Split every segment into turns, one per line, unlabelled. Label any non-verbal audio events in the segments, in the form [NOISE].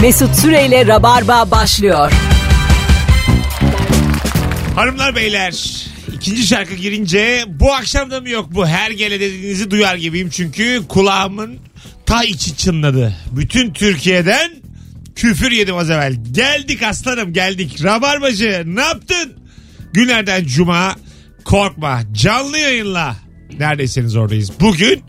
Mesut Süreyle Rabarba başlıyor.
Hanımlar beyler ikinci şarkı girince bu akşam da mı yok bu her gele dediğinizi duyar gibiyim çünkü kulağımın ta içi çınladı. Bütün Türkiye'den küfür yedim az evvel. Geldik aslanım geldik. Rabarbacı ne yaptın? Günlerden cuma korkma canlı yayınla. Neredeyseniz oradayız. Bugün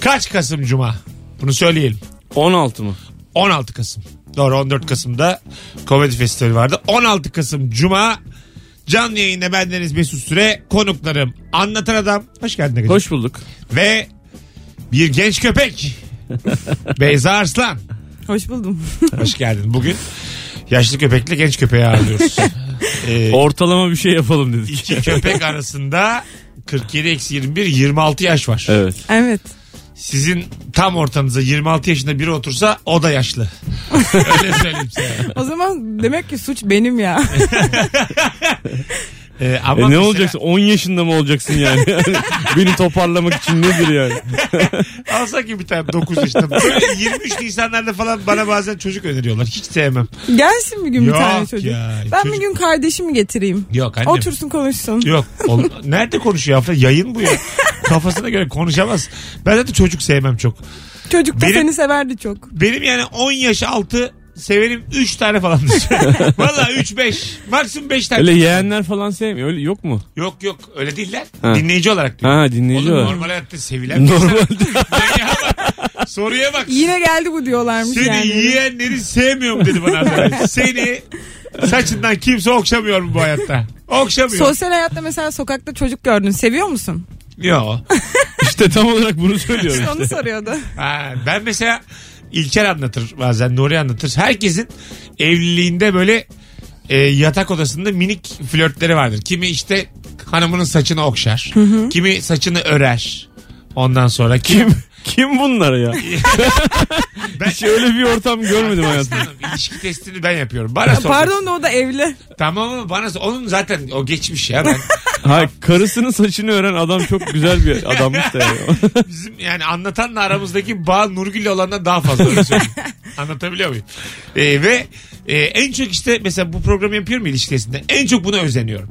kaç Kasım cuma? Bunu söyleyelim.
16 mı?
16 Kasım. Doğru 14 Kasım'da Komedi Festivali vardı. 16 Kasım Cuma canlı yayında bendeniz Mesut Süre konuklarım Anlatan Adam. Hoş geldin. Agacığım.
Hoş bulduk.
Ve bir genç
[LAUGHS]
köpek Beyza Arslan.
Hoş buldum.
Hoş geldin. Bugün yaşlı köpekle genç köpeği
[LAUGHS]
ağırlıyoruz. Ee,
Ortalama bir şey yapalım dedik.
iki köpek arasında 47 eksi 21 26 yaş var.
Evet.
Evet.
Sizin tam ortanıza 26 yaşında biri otursa o da
[LAUGHS]
yaşlı. Öyle söyleyeyim size.
O zaman demek ki suç benim
[LAUGHS]
ya.
Ee, ama
E ne
mesela-
olacaksın? 10 yaşında mı olacaksın yani? [LAUGHS] Yani Beni toparlamak için nedir yani?
[LAUGHS] Alsak ki bir tane 9 yaşında. Böyle 23 Nisanlarda falan bana bazen çocuk öneriyorlar. Hiç sevmem.
Gelsin bir gün
Yok
bir tane çocuk.
ya,
ben
çocuk-
bir gün kardeşimi getireyim.
Yok annem.
Otursun konuşsun.
Yok. Ol- Nerede konuşuyor hafta? Yayın bu ya. Kafasına göre konuşamaz. Ben zaten çocuk sevmem çok.
Çocuk da
Benim-
seni severdi çok.
Benim yani 10 yaş altı severim 3 tane [LAUGHS] falandır. Valla 3-5. Maksimum 5 tane.
Öyle yeğenler falan sevmiyor. Öyle yok mu?
Yok yok öyle değiller.
Ha.
Dinleyici olarak diyor.
Ha
Oğlum
dinleyici var.
normal hayatta sevilen bir insan. [LAUGHS]
Normal.
Ya bak, Soruya bak.
Yine geldi bu diyorlarmış
Seni
yani.
yiyenleri sevmiyorum dedi bana az evvel.
[LAUGHS]
Seni saçından kimse okşamıyor mu bu hayatta? Okşamıyor.
Sosyal hayatta mesela sokakta çocuk gördün. Seviyor musun?
Yo.
İşte tam olarak bunu söylüyorum
İşte onu
[LAUGHS]
işte.
soruyordu.
Ha, ben mesela İlker anlatır bazen Nuri anlatır. Herkesin evliliğinde böyle e, yatak odasında minik flörtleri vardır. Kimi işte hanımının saçını okşar. Kimi saçını örer. Ondan sonra kim?
Kim bunlar ya?
Ben-
Hiç öyle bir ortam görmedim hayatımda.
Hanım, ilişki testini ben yapıyorum. Bana sor.
Pardon da o da evli.
Tamam mı? Bana sor. Onun zaten o geçmiş ya. Ben
Ha, karısının saçını ören adam çok güzel bir adammış da yani.
Bizim yani anlatanla aramızdaki bağ Nurgül'le olandan daha fazla. öyle
[LAUGHS]
söyleyeyim. Anlatabiliyor muyum? Ee, ve e, en çok işte mesela bu programı yapıyorum ya ilişkisinde. En çok buna özeniyorum.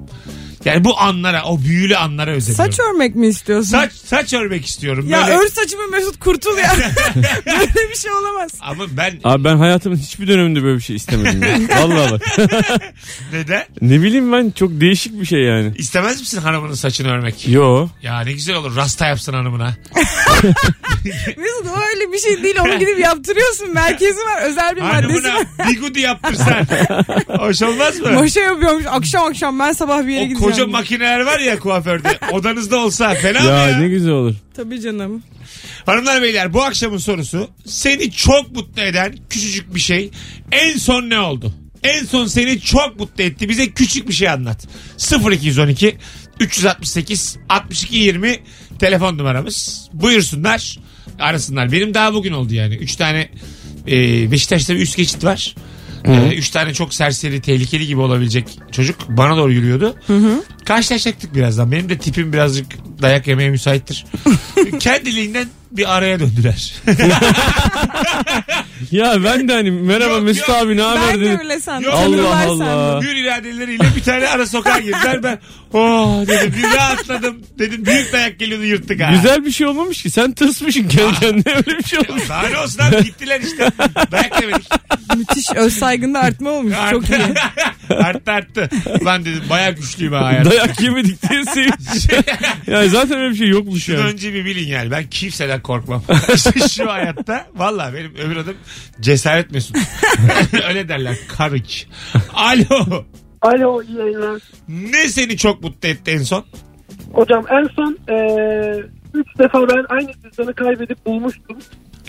Yani bu anlara, o büyülü anlara özeniyorum.
Saç örmek mi istiyorsun?
saç, saç örmek istiyorum.
Ya
Böyle-
ör saçımı Mesut kurtul ya.
[LAUGHS]
[LAUGHS] Böyle bir şey olamaz.
Ama ben
[LAUGHS] Abi ben hayatımın hiçbir döneminde böyle bir şey istemedim ya. Vallahi bak.
neden?
Ne bileyim ben çok değişik bir şey yani.
İstemez misin hanımının saçını örmek?
Yo.
Ya ne güzel olur. Rasta yapsın hanımına.
Mesut o öyle bir şey değil. Onu gidip yaptırıyorsun. Merkezi var. Özel bir maddesi
Hanımına
var.
bigudi yaptırsan.
[LAUGHS]
Hoş olmaz mı?
Moşa yapıyormuş. Akşam akşam ben sabah bir yere
o
gideceğim.
koca makineler var ya kuaförde. Odanızda olsa fena mı
Ya ne güzel olur.
Tabii canım.
Hanımlar beyler bu akşamın sorusu seni çok mutlu eden küçücük bir şey en son ne oldu? En son seni çok mutlu etti. Bize küçük bir şey anlat. 0212 368 62 20 telefon numaramız. Buyursunlar arasınlar. Benim daha bugün oldu yani. 3 tane e, Beşiktaş'ta bir üst geçit var. 3 Ee, tane çok serseri tehlikeli gibi olabilecek çocuk bana doğru yürüyordu. Karşılaşacaktık birazdan. Benim de tipim birazcık dayak yemeye müsaittir.
[LAUGHS]
Kendiliğinden bir araya döndüler.
Ya ben de hani merhaba
Yok,
Mesut
yok.
abi ne haber
Ben de
dedim.
öyle sandım.
Yok.
Allah
Tanırlar sandım.
Allah.
Hür iradeleriyle bir tane ara sokağa girdiler. Ben oh dedim bir rahatladım. Dedim büyük dayak geliyordu yırttık ha.
Güzel bir şey olmamış ki. Sen tırsmışsın kendi kendine öyle bir şey
[LAUGHS]
olmuş.
Daha ne olsun abi gittiler işte. Dayak yemedik.
Müthiş öz saygında artma olmuş. Çok iyi.
arttı arttı. Lan dedim bayağı güçlüyüm ha hayatım.
Dayak yemedik diye
[LAUGHS]
sevinç. yani zaten öyle bir şey yokmuş
Şunu
yani.
önce bir bilin yani. Ben kimseden korkmam. [LAUGHS] İşte şu hayatta valla benim öbür adım cesaret mesut. [LAUGHS] Öyle derler. Karıç. Alo.
Alo iyi yayınlar.
Ne seni çok mutlu etti en son?
Hocam en son eee üç defa ben aynı cüzdanı kaybedip bulmuştum.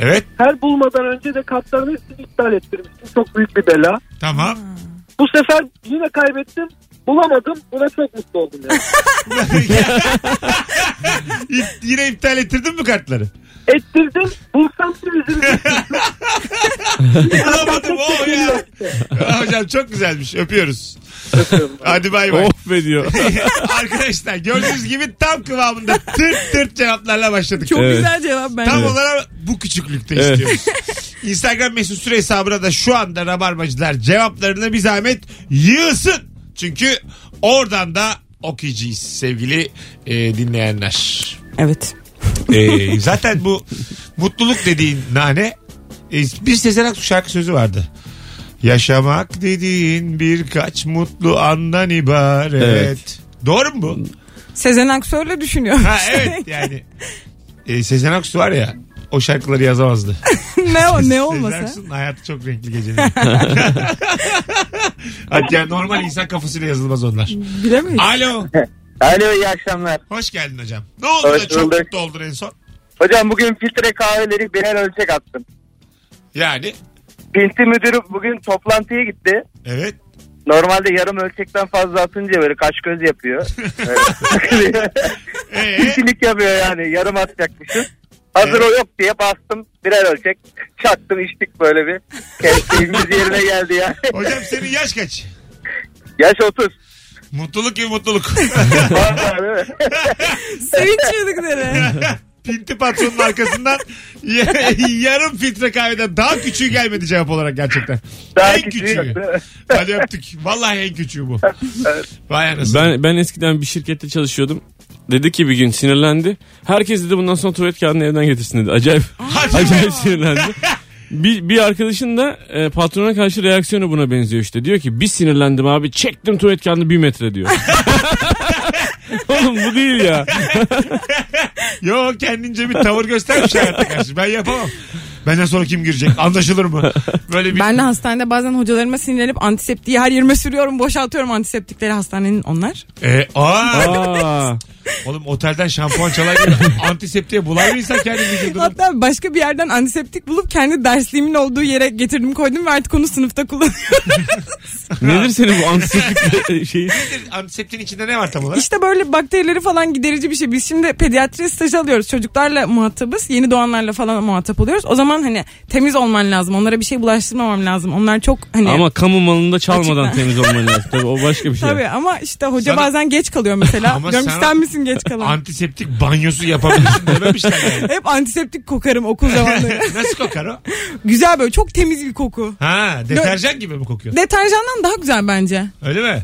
Evet.
Her bulmadan önce de kartların hepsini iptal ettirmiştim. Çok büyük bir bela.
Tamam.
Bu sefer yine kaybettim. Bulamadım. Buna çok mutlu oldum
[LAUGHS]
yani.
İp- yine iptal ettirdin mi kartları?
Ettirdim. Bulsam bir üzüldüm.
Bulamadım o ya. Hocam çok güzelmiş. Öpüyoruz. Hadi bay bay.
Of Oh be diyor.
[LAUGHS] Arkadaşlar gördüğünüz gibi tam kıvamında tırt tırt cevaplarla başladık.
Çok
Evet.
güzel cevap bence.
Tam olarak bu küçüklükte
Evet.
istiyoruz. [LAUGHS] Instagram mesut süre hesabına da şu anda rabarbacılar cevaplarını bir zahmet yığsın. Çünkü oradan da okuyacağız sevgili e, dinleyenler.
Evet.
Ee, zaten
[LAUGHS]
bu mutluluk dediğin nane e, bir Sezen Aksu şarkı sözü vardı. Yaşamak dediğin birkaç mutlu andan ibaret.
Evet.
Doğru mu bu?
Sezen Aksu öyle düşünüyor.
Ha
[LAUGHS]
evet yani. E, Sezen Aksu var ya o şarkıları yazamazdı.
[LAUGHS] ne o- ne
Sezen
olmasa.
Aksu'nun hayatı çok renkli geceleri. [LAUGHS] Hatta normal insan kafasıyla yazılmaz onlar.
Bilemeyiz.
Alo.
Alo iyi akşamlar.
Hoş geldin hocam. Ne oldu
Hoş
da çok
bulduk.
mutlu oldun en son?
Hocam bugün filtre kahveleri birer ölçek attım.
Yani
Pinti müdürü bugün toplantıya gitti.
evet.
Normalde yarım ölçekten fazla atınca böyle kaş göz yapıyor. [LAUGHS] Böyle [LAUGHS]
Ee,
Kişilik yapıyor yani yarım atacakmışız. Hazır o yok diye bastım birer ölçek. Çaktım içtik böyle bir. Keyfimiz yerine geldi ya. [LAUGHS]
hocam senin yaş kaç?
Yaş 30.
Mutluluk gibi mutluluk. [LAUGHS]
Vallahi değil mi?
Sevinç yıldıkları.
Pinti patronun arkasından [LAUGHS] ya- yarım filtre kahveden daha küçüğü gelmedi cevap olarak gerçekten.
Daha
en
küçüğü
küçüğü.
yok, değil mi?
Hadi öptük. Vallahi en küçüğü
[LAUGHS]
bu. Vay anasını.
Ben ben eskiden bir şirkette çalışıyordum. Dedi ki bir gün sinirlendi. Herkes dedi bundan sonra tuvalet kağıdını evden getirsin dedi. Acayip
Hadi be.
acayip sinirlendi. Bir, bir arkadaşın da e, patrona karşı reaksiyonu buna benziyor işte. Diyor ki bir sinirlendim abi çektim tuvalet kağıdını bir metre diyor. Oğlum bu değil ya.
Yo kendince bir tavır göstermiş hayata karşı. Ben yapamam. Benden sonra kim girecek? Anlaşılır mı? Böyle bir...
Ben de hastanede bazen hocalarıma sinirlenip antiseptiği her yerime sürüyorum. Boşaltıyorum antiseptikleri hastanenin onlar.
Ee, aa,
Aa,
oğlum otelden şampuan çalar gibi antiseptiğe bular mı insan kendi vücudunu?
Hatta başka bir yerden antiseptik bulup kendi dersliğimin olduğu yere getirdim koydum ve artık onu sınıfta kullanıyorum.
nedir senin bu [LAUGHS] antiseptik şeyi?
Antiseptiğin içinde ne var tam
[LAUGHS]
olarak?
işte böyle bakterileri falan giderici bir şey. Biz şimdi pediatri stajı alıyoruz. Çocuklarla muhatabız. Yeni doğanlarla falan muhatap oluyoruz. O zaman hani temiz olman lazım. Onlara bir şey bulaştırmamam lazım. Onlar çok hani...
Ama kamu malında çalmadan temiz olman lazım. Tabii o başka bir şey.
Tabii ama işte hoca
Sana-
bazen geç kalıyor
[LAUGHS]
mesela.
Ama
Diyorum ki
sana-
sen misin
[LAUGHS]
geç kalan?
Antiseptik banyosu yapabilirsin dememişler yani.
Hep antiseptik kokarım okul
[LAUGHS]
zamanları.
Nasıl kokar o?
güzel böyle çok temiz bir koku.
Ha deterjan gibi mi kokuyor?
Deterjandan daha güzel bence.
Öyle mi?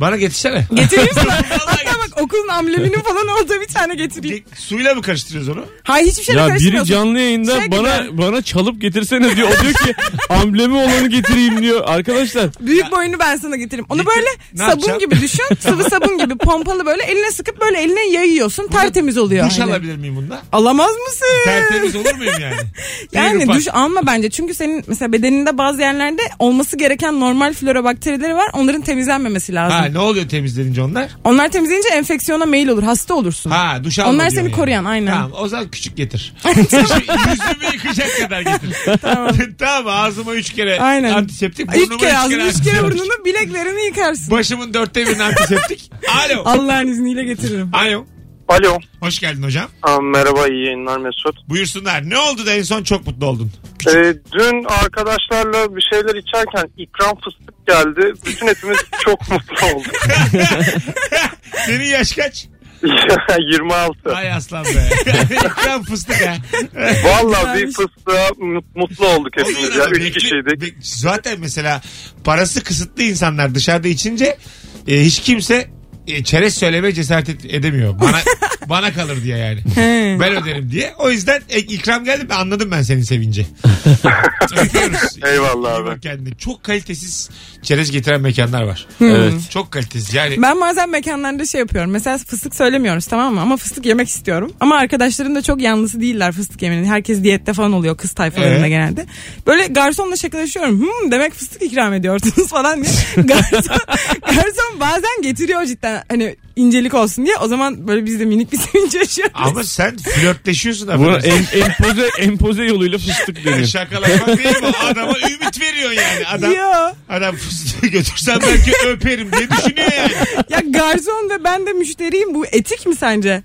Bana getirsene.
Getireyim sana.
[LAUGHS] Vallahi
Hatta bak okulun ambleminin falan olduğu bir tane getireyim.
Ge- Suyla mı karıştırıyoruz onu?
Hayır hiçbir şey şeyle
Ya biri
karıştırmıyorsun.
canlı yayında
Şey
bana
gibi.
bana çalıp getirsene diyor. O diyor ki amblemi olanı getireyim diyor. Arkadaşlar
Büyük boyunu ben sana getireyim. Onu
Getir-
böyle
Ne
sabun
yapacağım?
gibi
[LAUGHS]
düşün. Sıvı sabun gibi pompalı böyle eline sıkıp böyle eline yayıyorsun. Tertemiz oluyor.
Duş
hani.
alabilir miyim bunda?
Alamaz mısın?
Tertemiz olur muyum yani? Bir
Yani
ufak-
duş alma bence. Çünkü senin mesela bedeninde bazı yerlerde olması gereken normal flora bakterileri var. Onların temizlenmemesi lazım.
Ha ne oluyor temizlenince onlar?
Onlar temizlenince enfeksiyona mail olur. Hasta olursun.
Ha duş alma
Onlar
diyor
seni
yani.
koruyan, aynen.
Tamam o zaman küçük
[LAUGHS]
getir. Şu Yüzümü yıkayacak kadar getir. [LAUGHS] tamam. ağzıma üç kere
Aynen.
antiseptik. Burnuma
Üç kere ağzını, üç kere
antiseptik.
burnunu, bileklerini
[LAUGHS]
yıkarsın.
Başımın dörtte birini antiseptik. Alo.
Allah'ın izniyle getiririm.
Alo.
Alo.
Hoş geldin hocam.
Aa, merhaba iyi yayınlar Mesut.
Buyursunlar. Ne oldu da en son çok mutlu oldun?
Ee, dün arkadaşlarla bir şeyler içerken ikram fıstık geldi.
[LAUGHS]
Bütün hepimiz çok mutlu olduk. [LAUGHS]
Senin yaş kaç?
26.
Ay aslan [LAUGHS] be. İkram fıstık ha.
Vallahi bir
Güzelmiş.
fıstığa mu- mutlu olduk hepimiz ya.
Olur ama bekle-
3 kişiydik.
bek- zaten mesela parası kısıtlı insanlar dışarıda içince e, hiç kimse e, çerez söylemeye cesaret et- edemiyor.
[LAUGHS]
Bana bana kalır diye yani. ben öderim diye. O yüzden e, ikram geldi mi anladım ben senin
[LAUGHS]
sevinci. Öpüyoruz.
Eyvallah
İyi
abi.
bak kendine. Çok kalitesiz çerez getiren mekanlar var.
evet.
Çok kalitesiz yani.
Ben bazen mekanlarda şey yapıyorum. Mesela fıstık söylemiyoruz tamam mı? Ama fıstık yemek istiyorum. Ama arkadaşlarım da çok yanlısı değiller fıstık yemenin. Herkes diyette falan oluyor kız tayfalarında
Ee?
genelde. Böyle garsonla şakalaşıyorum. Hmm, demek fıstık ikram ediyorsunuz [LAUGHS] falan diye. garson, [LAUGHS] garson bazen getiriyor cidden hani incelik olsun diye. O zaman böyle biz de minik bir [LAUGHS] sevinç yaşıyoruz.
Ama sen flörtleşiyorsun
Buna
affedersin.
em- empoze, empoze yoluyla fıstık deniyor.
Şey, Şakalaşmak değil mi? Adama ümit veriyor yani. Adam
Ya,
Adam fıstığı götürsem belki öperim diye düşünüyor yani.
ya garson ve ben de müşteriyim bu etik mi sence?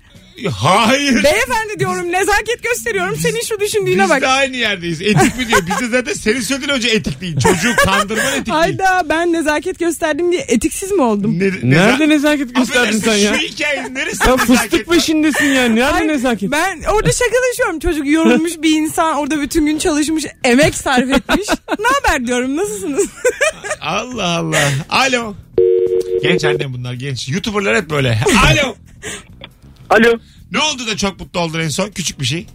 Hayır.
Beyefendi diyorum nezaket gösteriyorum senin şu düşündüğüne
Biz
bak.
de aynı yerdeyiz. Etik mi diyor. Biz de zaten senin söylediğin önce etik değil. Çocuğu kandırman etik değil.
Hayda ben nezaket gösterdim diye etiksiz mi oldum?
Ne,
Nerede nezaket gösterdin
Affedersin,
sen ya?
Şu hikayenin neresi?
Sen
nezaket
fıstık
var?
peşindesin ya. Nerede
Hayır,
nezaket?
Ben orada şakalaşıyorum. Çocuk yorulmuş bir insan orada bütün gün çalışmış, emek sarf etmiş. ne haber diyorum nasılsınız? [LAUGHS]
Allah Allah. Alo. Genç annem bunlar genç. Youtuberlar hep böyle. Alo.
Alo.
Ne oldu da çok mutlu oldun en son? Küçük bir şey.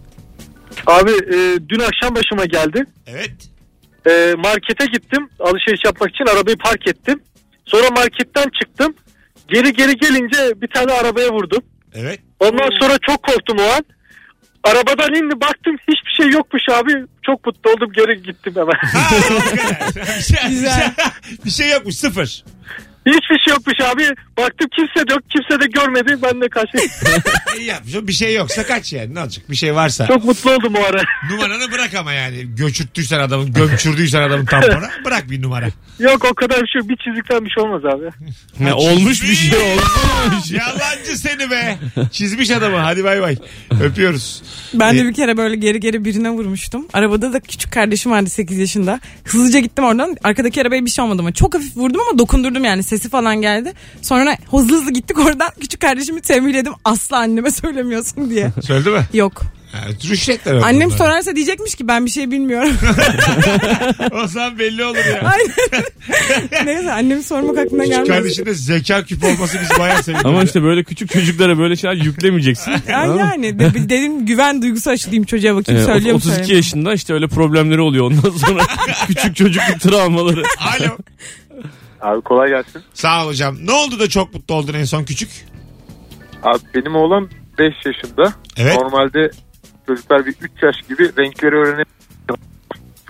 Abi e, dün akşam başıma geldi.
Evet.
E, markete gittim. Alışveriş yapmak için arabayı park ettim. Sonra marketten çıktım. Geri geri gelince bir tane arabaya vurdum.
Evet.
Ondan sonra çok korktum o an. Arabadan indi [LAUGHS] baktım hiçbir şey yokmuş abi. Çok mutlu oldum geri gittim
[LAUGHS]
hemen.
Ha, o
[LAUGHS]
kadar. bir, şey, bir, şey, bir şey yokmuş sıfır.
hiçbir şey yokmuş abi. Baktım kimse de yok kimse de görmedi. Ben de kaçtım.
[LAUGHS]
İyi yapmış. Bir şey yoksa kaç yani ne olacak? Bir şey varsa.
çok mutlu oldum o ara.
Numaranı bırak ama yani. Göçürttüysen adamın, gömçürdüysen adamın tampona bırak bir numara.
Yok o kadar bir şey bir çizikten bir şey olmaz abi.
Ne, olmuş bir şey olmuş.
Yalancı seni be. Çizmiş adamı. Hadi bay bay. Öpüyoruz.
Ben
Ee,
de bir kere böyle geri geri birine vurmuştum. Arabada da küçük kardeşim vardı 8 yaşında. Hızlıca gittim oradan. Arkadaki arabaya bir şey olmadı ama çok hafif vurdum ama dokundurdum yani. Sesi falan geldi. Sonra hızlı hızlı gittik oradan. Küçük kardeşimi tembihledim. Asla anneme söylemiyorsun [LAUGHS] diye.
Söyledi mi?
Yok.
Ha, rüşvetler öyle
Annem
bunlar.
sorarsa diyecekmiş ki ben bir şey bilmiyorum. [LAUGHS]
O zaman belli olur ya.
Aynen. Neyse annemi sormak aklına
Küçük
gelmez.
kardeşinde zeka küpü olması biz bayağı sevindik.
Ama işte böyle küçük çocuklara böyle şeyler
[LAUGHS]
yüklemeyeceksin.
Ay
Anladın mı?
yani de- dedim güven duygusu aşılayım çocuğa
Ee,
bakayım söylüyor mu
32
söylemiyor mu?
yaşında işte öyle problemleri oluyor ondan sonra [LAUGHS] küçük çocukluk travmaları.
Alo.
Abi kolay gelsin.
Sağ ol hocam. Ne oldu da çok mutlu oldun en son küçük?
Abi benim oğlan 5 yaşında.
Evet.
Normalde çocuklar bir 3 yaş gibi renkleri öğrenemiyor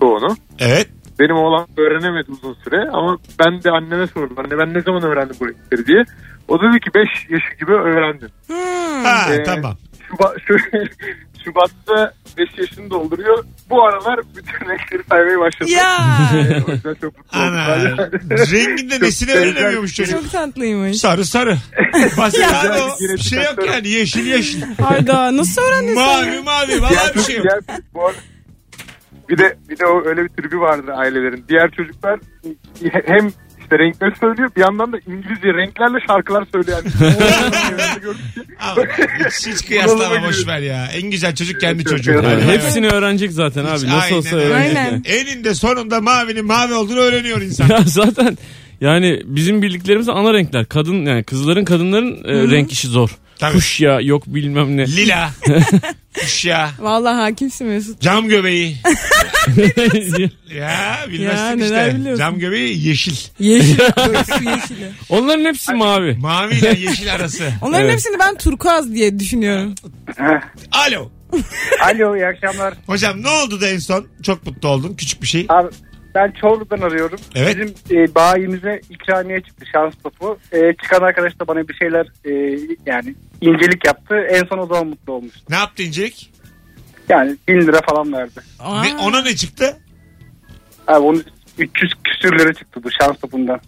çoğunu.
Evet.
Benim oğlan öğrenemedi uzun süre ama ben de anneme sordum. Anne ben ne zaman öğrendim bu renkleri diye. O da dedi ki 5 yaşı gibi öğrendim.
Hmm.
Ha
Ee,
tamam.
Şubat, [LAUGHS] şu- Şubat'ta 5 yaşını dolduruyor. Bu aralar bütün renkleri saymaya
[LAUGHS]
başladı.
Ya
Ee, o yüzden çok mutlu oldum.
Ana. Renginde
Çok
nesini
benzer
öğrenemiyormuş çocuk.
çok tatlıymış.
Sarı sarı. Basit
Ya.
abi o.
Yine
Bir şey yok
çıkartıyorum.
yani. Yeşil yeşil.
Hayda nasıl öğrendin sen?
mavi mavi. Valla bir şey yok.
Diğer- bu arada- bir de bir de o öyle bir tribi vardır ailelerin. Diğer çocuklar hem işte renkleri söylüyor bir yandan da İngilizce renklerle şarkılar söyleyen.
[LAUGHS]
Ama hiç, hiç kıyaslama boş ver ya. En güzel çocuk kendi çocuğu.
Yani
Yani
Hadi bay bay.
hepsini öğrenecek zaten abi. Nasıl
Aynen
olsa
öyle.
öğrenecek.
Aynen.
Eninde sonunda mavinin mavi olduğunu öğreniyor
[LAUGHS]
insan.
[LAUGHS] Ya zaten yani bizim bildiklerimiz ana renkler. Kadın yani kızların kadınların e, renk işi zor.
Tabii.
Kuş ya yok bilmem ne.
[LAUGHS]
Lila. Kuşya.
Vallahi hakimsin Mesut.
Cam göbeği.
[LAUGHS]
Ya bilmezsin
Ya, neler
işte.
biliyorsun.
Cam göbeği yeşil. [LAUGHS]
Yeşil. Böyle su yeşili.
Onların hepsi mavi.
Mavi ile yeşil
[LAUGHS]
arası.
Onların
Evet.
hepsini ben turkuaz diye düşünüyorum.
Alo.
Alo iyi akşamlar.
Hocam ne oldu da en son? Çok mutlu oldun. Küçük bir şey.
Abi ben Çorlu'dan arıyorum.
Evet.
Bizim e, bayimize ikramiye çıktı şans topu. E, çıkan arkadaş da bana bir şeyler e, yani incelik yaptı. En son o zaman mutlu olmuş.
Ne yaptı incelik?
Yani 1000 lira falan verdi.
Aa.
Ne- ona ne çıktı?
Abi onun 300 küsür lira çıktı bu şans topundan.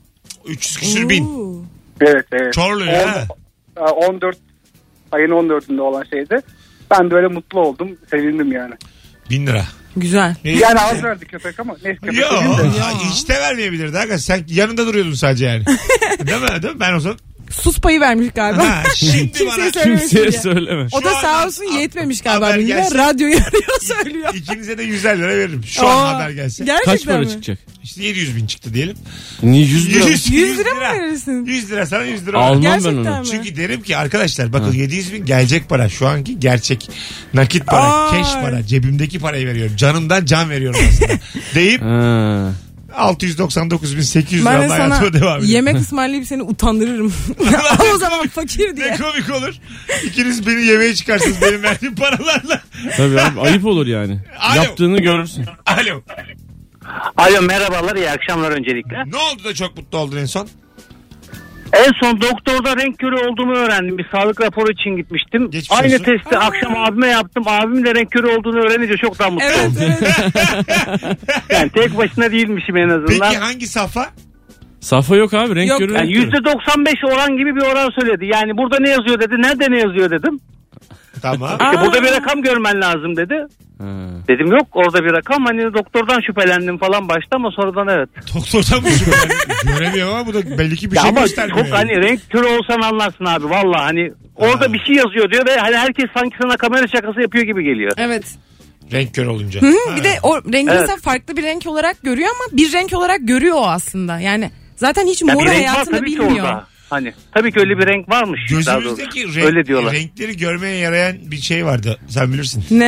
300 küsür bin.
Oo.
Evet evet.
Çorlu ya.
On- a, 14 ayın 14'ünde olan şeydi. Ben de öyle mutlu oldum. Sevindim yani.
Bin lira.
Güzel.
Yani az verdi köpek ama neyse köpek
Yo,
dediğim de.
hiç de vermeyebilirdi. Hakikaten sen yanında duruyordun sadece
[LAUGHS]
yani. değil mi? Değil mi? Ben o zaman.
Sus payı vermiş galiba. [LAUGHS]
Ha, şimdi bana
Kimseye söylemesin
Kimseye
diye.
söyleme.
O
Şu
da sağ
anda-
olsun yetmemiş galiba.
Haber
Bilmiyorum.
gelsin.
Radyoyu arıyor [LAUGHS] söylüyor.
ikinize de 100'er lira veririm. Şu an
Aa,
haber gelse.
Gerçekten
Kaç para
mi?
çıkacak?
İşte 700 bin çıktı diyelim.
Niye 100 lira?
100 lira mı verirsin?
100 lira sana 100 lira.
Almam ben
Gerçekten
onu.
mi?
Çünkü derim ki arkadaşlar bakın 700 bin gelecek para şu anki gerçek nakit para,
Ay.
keş para, cebimdeki parayı veriyorum. Canımdan can veriyorum aslında.
[LAUGHS]
Deyip
Ha.
699.800
Ben
lira
de
hayatıma
sana
devam ediyorum.
yemek ısmarlayıp
[LAUGHS]
seni utandırırım. [LAUGHS] Ama o zaman fakir
Ne
diye.
komik olur. İkiniz beni yemeğe çıkarsınız benim verdiğim paralarla. [LAUGHS]
Tabii abi, ayıp olur yani.
Alo.
Yaptığını görürsün.
Alo.
Alo merhabalar iyi akşamlar öncelikle.
Ne oldu da çok mutlu oldun en son?
En son doktorda renk körü olduğumu öğrendim. Bir sağlık raporu için gitmiştim.
Geçmiş
Aynı
olsun.
testi akşam abime yaptım. Abim de renk körü olduğunu öğrenince çok daha mutlu
Evet
oldum.
evet.
[LAUGHS]
Yani tek başına değilmişim en
Peki
azından.
hangi safa?
Safa yok abi renk
Yok.
görür.
Yani %95 oran gibi bir oran söyledi. Yani burada ne yazıyor dedi. Nerede ne yazıyor dedim.
Tamam.
İşte
Aa.
burada bir rakam görmen lazım dedi.
Ha.
Dedim yok orada bir rakam hani doktordan şüphelendim falan başta ama sonradan evet.
[LAUGHS] Doktordan mı ben göremiyorum ama bu da belli ki bir
Ya
şey
ama
göstermiyor.
çok hani renk körü olsan anlarsın abi valla hani orada
Ha.
bir şey yazıyor diyor ve hani herkes sanki sana kamera şakası yapıyor gibi geliyor.
Evet.
Renk kör olunca.
Hı, [LAUGHS] bir de o rengi
Evet.
insan farklı bir renk olarak görüyor ama bir renk olarak görüyor o aslında. Yani zaten hiç
Ya
moru
bir renk var
hayatında
tabii ki
bilmiyor.
orada. Hani tabii ki öyle bir renk varmış. daha doğrusu.
Gözümüzdeki renk,
öyle diyorlar.
renkleri görmeye yarayan bir şey vardı. Sen bilirsin.
Ne?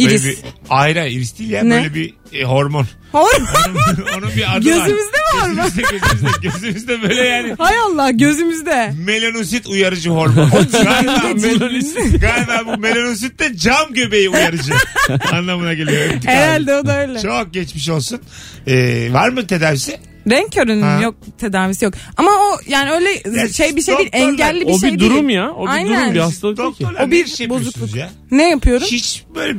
Böyle
İris. [LAUGHS]
bir, hayır hayır iris değil ya.
Ne?
Böyle bir e, hormon.
Hayır.
Onun, onun bir adı
Gözümüzde
var.
var mı?
Gözümüzde, gözümüzde, gözümüzde böyle yani.
Hay Allah gözümüzde.
Melanosit uyarıcı hormon.
[LAUGHS]
galiba, melanosit, galiba bu melanosit de cam göbeği uyarıcı anlamına geliyor. Öptük abi.
Herhalde o da öyle.
Çok geçmiş olsun. Ee, var mı tedavisi?
Renk körünün
Ha.
yok tedavisi yok. Ama o yani öyle
Ya
şey bir şey değil
doktorlar-
engelli bir
O
şey
bir durum
değil.
ya. O bir
Aynen.
durum bir hastalık değil ki.
Doktorlar
O bir
ne iş yapıyorsunuz
bozukluk.
ya?
Ne yapıyorum?
Hiç böyle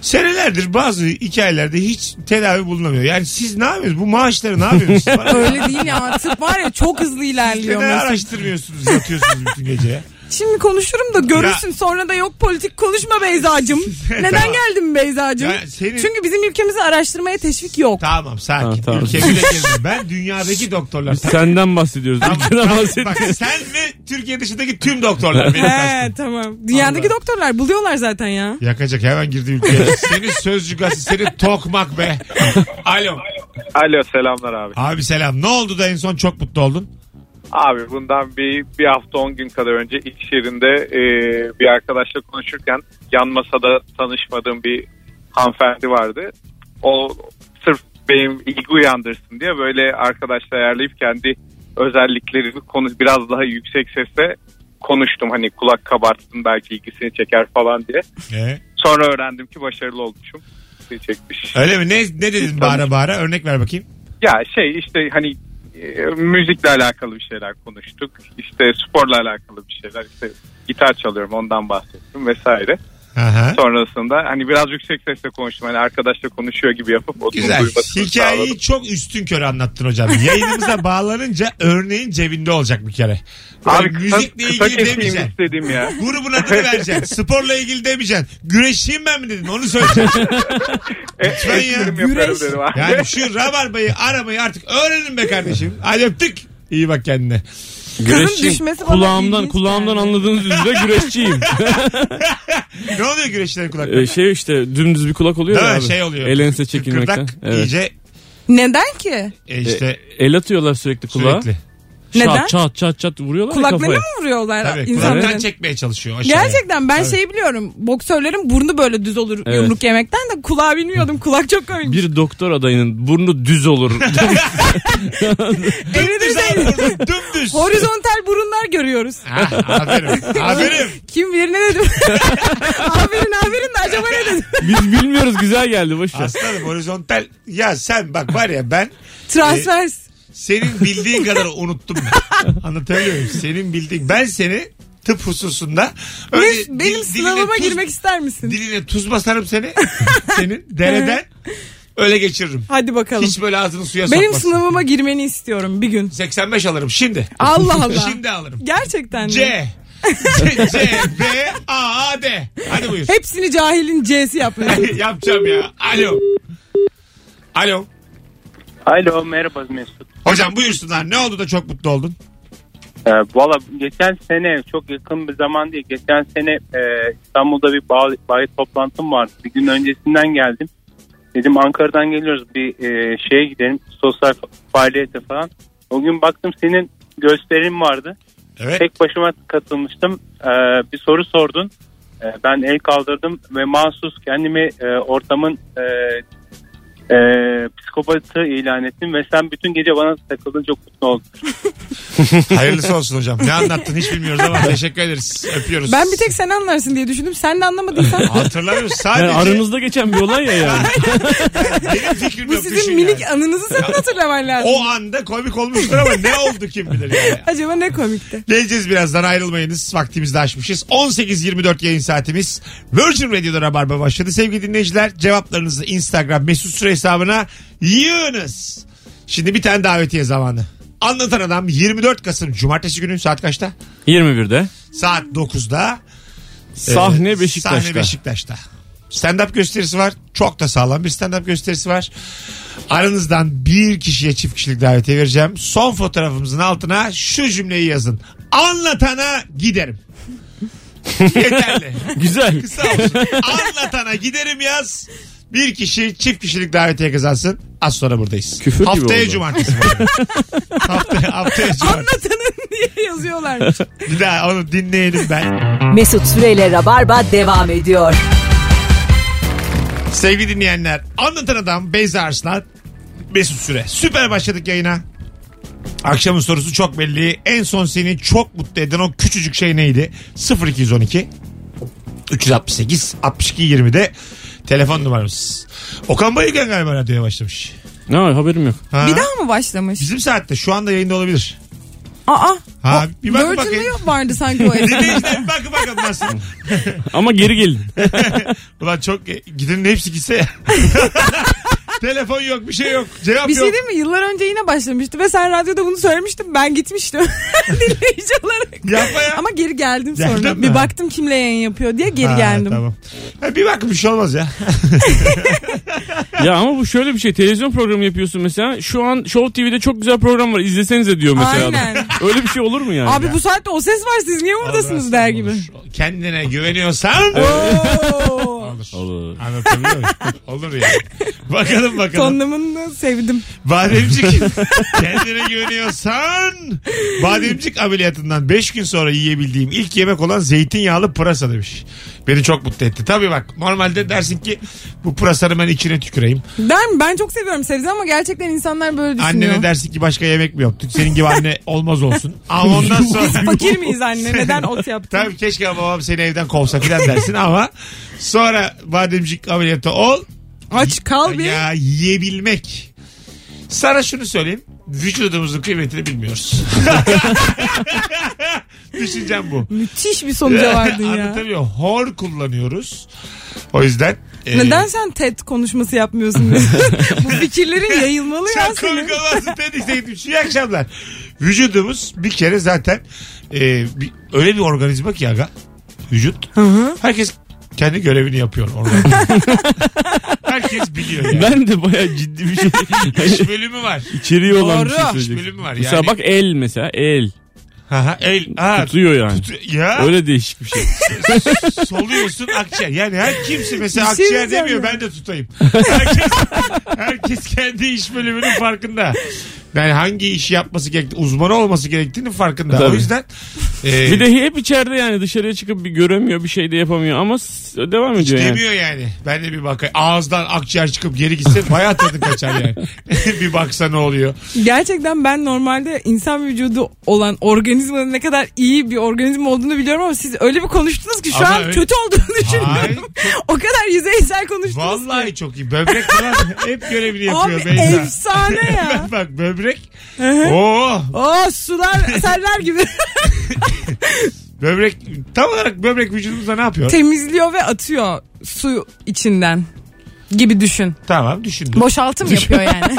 senelerdir bazı hikayelerde hiç tedavi bulunamıyor. Yani siz ne yapıyorsunuz? Bu maaşları ne yapıyorsunuz? Bana-
[LAUGHS] Öyle şey değil ya. Tıp var ya çok hızlı
Neden
ilerliyor. mesela.
araştırmıyorsunuz, yatıyorsunuz bütün gece ya?
Şimdi konuşurum da görürsün sonra da yok politik konuşma Beyza'cım.
[LAUGHS]
Neden
Tamam.
geldin Beyza'cım?
Ya senin-
Çünkü bizim ülkemizi araştırmaya teşvik yok.
Tamam sakin.
Ha, tamam.
Ülkemi de gezdim. Ben dünyadaki doktorlar.
Biz senden bahsediyoruz. Ülkeden
Bak
bahsetmiyoruz.
sen ve Türkiye dışındaki tüm doktorlar benim kastım.
He tamam. Dünyadaki
Allah.
doktorlar buluyorlar zaten ya.
Yakacak hemen girdi ülkeye. Senin sözcü gazı, seni tokmak be. Alo.
Alo selamlar abi.
Abi selam. Ne oldu da en son çok mutlu oldun?
Abi bundan bir, bir hafta 10 gün kadar önce iş yerinde e, bir arkadaşla konuşurken yan masada tanışmadığım bir hanımefendi vardı. O sırf benim ilgi uyandırsın diye böyle arkadaşla ayarlayıp kendi özelliklerini konuş biraz daha yüksek sesle konuştum. Hani kulak kabartsın belki ilgisini çeker falan diye.
Ee,
Sonra öğrendim ki başarılı olmuşum. İlgisini Çekmiş.
öyle mi? Ne, ne dedin bağıra bağıra? Örnek ver bakayım.
Ya şey işte hani e, müzikle alakalı bir şeyler konuştuk. İşte sporla alakalı bir şeyler. İşte gitar çalıyorum ondan bahsettim vesaire.
Aha.
Sonrasında hani biraz yüksek sesle konuştum. Hani arkadaşla konuşuyor gibi yapıp onun
Güzel.
duymasını sağladım.
Hikayeyi çok üstün körü anlattın hocam.
[LAUGHS]
Yayınımıza bağlanınca örneğin cebinde olacak bir kere. Abi,
Abi kısa,
müzikle
kısa
ilgili
keseyim
demeyeceksin.
E, istedim ya.
Grubun adını
[LAUGHS]
vereceksin. Sporla ilgili demeyeceksin. Güreşçiyim ben mi dedin?
[LAUGHS]
Onu söyleyeceksin.
E,
Lütfen ya.
esprimi yaparım
Güreş.
dedim
[LAUGHS]
abi.
Yani şu rabarbayı aramayı artık öğrenin be kardeşim. Hadi öptük. İyi bak kendine.
Kızın düşmesi bana
kulağımdan
ilginç
kulağımdan
geldi.
anladığınız üzere [LAUGHS] güreşçiyim.
Ne oluyor güreşçilerin kulakları?
Ee, şey işte dümdüz bir kulak oluyor
Değil
ya
mi?
abi.
Şey oluyor.
El ense çekilmekten.
Kıkırdak
Evet.
iyice
Neden ki?
e, işte
El atıyorlar sürekli kulağa.
sürekli.
Neden?
Çat çat çat çat vuruyorlar ya
Kulaklarını
kafaya.
mı vuruyorlar
Tabii
insanların?
kulaktan çekmeye çalışıyor. aşağıya.
Gerçekten ben şeyi biliyorum. Boksörlerin burnu böyle düz olur
Evet.
yumruk yemekten de kulağı bilmiyordum. Kulak çok komik.
Bir doktor adayının burnu
[LAUGHS]
düz olur.
Evlidir
Dümdüz
de-
abi burnu, dümdüz.
Horizontal burunlar görüyoruz.
Ha, aferin.
[LAUGHS]
Aferin.
Kim bilir ne
[LAUGHS]
dedim. aferin aferin de acaba ne dedim.
Biz bilmiyoruz güzel geldi boş ver.
Aslanım horizontal. Ya sen bak var ya ben
Transfers.
senin bildiğin kadar unuttum.
[LAUGHS]
ben. Anlatabiliyor muyum? Senin bildiğin. Ben seni tıp hususunda öyle
Ne-
dil-
benim
diline
sınavıma
tuz-
girmek ister misin?
Diline tuz basarım
[LAUGHS]
seni. Senin dereden öyle geçiririm.
Hadi bakalım.
Hiç böyle ağzını suya
benim
sokmasın.
sınavıma girmeni istiyorum bir gün.
85 alırım şimdi. [LAUGHS]
Allah Allah.
Şimdi alırım.
Gerçekten. de.
C. C, C, B, A, A, D. Hadi buyur.
Hepsini cahilin
[LAUGHS]
C'si yapmaya.
Yapacağım ya. Alo. Alo.
Alo merhaba Mesut.
Hocam buyursunlar. Ne oldu da çok mutlu oldun?
Ee, Valla geçen sene çok yakın bir zaman değil. Geçen sene e, İstanbul'da bir bayi, bayi toplantım vardı. Bir gün öncesinden geldim. Dedim Ankara'dan geliyoruz bir e, şeye gidelim sosyal fa- faaliyete falan. O gün baktım senin gösterim vardı.
Evet.
Tek başıma katılmıştım. Ee, bir soru sordun. Ee, ben el kaldırdım ve mahsus kendimi e, ortamın e, e, psikopatı ilan ettim ve sen bütün gece bana takıldın çok mutlu oldum.
Hayırlısı olsun hocam. Ne anlattın hiç bilmiyoruz ama teşekkür ederiz. Öpüyoruz.
Ben bir tek sen anlarsın diye düşündüm. Sen de anlamadıysan.
Hatırlamıyorum sadece
Yani aranızda geçen bir olay
[LAUGHS]
ya yani.
benim fikrim
Bu
yok.
sizin
Düşün
minik
şey yani.
anınızı senin hatırlaman lazım.
O anda komik olmuştur ama ne oldu kim bilir yani.
Acaba ne komikti?
Geleceğiz birazdan ayrılmayınız. Vaktimizi de aşmışız. 18.24 yayın saatimiz. Virgin Radio'da Rabarba başladı. Sevgili dinleyiciler cevaplarınızı Instagram mesut süre hesabına yığınız. Şimdi bir tane davetiye zamanı. Anlatan Adam 24 Kasım Cumartesi günü saat kaçta?
21'de.
Saat 9'da
Sahne Beşiktaş'ta.
Sahne Beşiktaş'ta. Stand-up gösterisi var. Çok da sağlam bir stand-up gösterisi var. Aranızdan bir kişiye çift kişilik davetiye vereceğim. Son fotoğrafımızın altına şu cümleyi yazın. Anlatana giderim. [LAUGHS] Yeterli.
Güzel.
Kısa olsun. Anlatana giderim yaz. Bir kişi çift kişilik davetiye kazansın. Az sonra buradayız.
Küfür gibi
haftaya
oldu.
cumartesi.
[LAUGHS]
var. haftaya, haftaya cumartesi.
Anlatanın [LAUGHS] diye yazıyorlarmış.
Bir daha onu dinleyelim ben.
Mesut Süreyle Rabarba devam ediyor.
Sevgili dinleyenler anlatan adam Beyza Arslan Mesut Süre. Süper başladık yayına. Akşamın sorusu çok belli. En son seni çok mutlu eden o küçücük şey neydi? 0212 368 62 20'de telefon numaramız. Okan Bayülgen galiba radyoya başlamış.
Ne var haberim yok.
Ha,
Bir daha mı başlamış?
Bizim saatte şu anda yayında olabilir.
Aa.
Ha, bir bakın
Virgin'de
bakayım.
yok vardı sanki
[LAUGHS]
o esnada.
Dinleyiciler bir bakın bakın
[LAUGHS]
nasıl.
Ama geri gelin.
Ulan çok gidenin hepsi gitse
[LAUGHS]
ya. Telefon yok bir şey yok. Cevap
Bir şey
yok.
değil mi? Yıllar önce yine başlamıştı ve sen radyoda bunu söylemiştin. Ben gitmiştim [LAUGHS] dinleyici olarak.
Yapma ya.
Ama geri geldim
Geldin
sonra.
mi?
Bir baktım kimle yayın yapıyor diye geri
Ha,
geldim.
Tamam. Ha, bir bakın bir şey olmaz ya.
ya ama bu şöyle bir şey. Televizyon programı yapıyorsun mesela. Şu an Show TV'de çok güzel program var. İzlesenize diyor mesela. adam.
Aynen.
[LAUGHS] Öyle bir şey olur mu yani?
Abi bu saatte o ses var siz niye buradasınız der
[LAUGHS]
gibi.
Olur. Kendine güveniyorsan
Oo.
olur.
Olur.
Anlatabiliyor
[LAUGHS]
muyum? Olur ya. Bakalım bakalım.
Tonlamanı sevdim. [LAUGHS]
Bademcik kendine güveniyorsan bademcik ameliyatından 5 gün sonra yiyebildiğim ilk yemek olan zeytinyağlı pırasa demiş. Beni çok mutlu etti. Tabii bak normalde dersin ki bu pırasanı ben içine tüküreyim.
Der mi? Ben çok seviyorum sebze ama gerçekten insanlar böyle düşünüyor.
Annene dersin ki başka yemek mi yaptık? Senin gibi
[LAUGHS]
anne olmaz olsun. Ama ondan sonra...
Fakir miyiz
[LAUGHS]
anne? Neden ot yaptın?
Tabii keşke babam seni evden kovsa filan dersin ama sonra bademcik ameliyatı ol.
Aç kal bir.
Ya yiyebilmek. Sana şunu söyleyeyim. Vücudumuzun kıymetini
[LAUGHS]
bilmiyoruz. Düşüncem bu.
Müthiş bir
[LAUGHS]
sonuca vardın ya.
Anlatabiliyor. Hor kullanıyoruz. O yüzden. e,
Neden sen TED konuşması yapmıyorsun?
[LAUGHS]
[LAUGHS] Bu fikirlerin yayılmalı ya
Çok
senin.
komik olmazsın dedikse gitmiş. İyi akşamlar. Vücudumuz bir kere zaten e, bir- öyle bir organizma ki aga. Vücut. Herkes kendi görevini yapıyor orada. [LAUGHS] Herkes biliyor yani.
Ben de bayağı ciddi bir şey.
[LAUGHS] İş bölümü var.
İçeriği olan bir şey
Doğru.
söyleyecek.
Bölüm var
Mesela
yani.
bak el mesela. El.
Aha, el, ha,
Tutuyor yani.
tut- ya
Öyle değişik bir şey.
[LAUGHS] soluyorsun akciğer. Yani her kimse mesela
Bir şey
akciğer
diyeceğim
demiyor
ya.
ben de tutayım. Herkes, herkes kendi iş bölümünün farkında. Yani hangi işi yapması gerektiği, uzman olması gerektiğinin farkında. O
Tabii.
yüzden e,
Bir de hep içeride yani dışarıya çıkıp bir göremiyor bir şey de yapamıyor ama s- devam ediyor yani.
Demiyor yani. Ben de bir bakayım. Ağızdan akciğer çıkıp geri gitse bayağı tadı kaçar yani. [LAUGHS] bir baksa ne oluyor.
Gerçekten ben normalde insan vücudu olan organizmanın ne kadar iyi bir organizma olduğunu biliyorum ama siz öyle bir konuştunuz ki şu
Ama
an
öyle-
kötü olduğunu
Ay,
düşünüyorum. [LAUGHS] o kadar yüzeysel konuştunuz ki.
vallahi çok iyi. Böbrek falan hep görevini yapıyor
Abi
Beyza.
efsane
[LAUGHS]
ya.
Bak böbrek. Oo,
Oo sular
[LAUGHS]
seller gibi
böbrek tam olarak böbrek vücudumuzda ne yapıyor?
temizliyor ve atıyor su içinden gibi düşün.
tamam düşündüm.
Boşaltım [LAUGHS] yapıyor yani.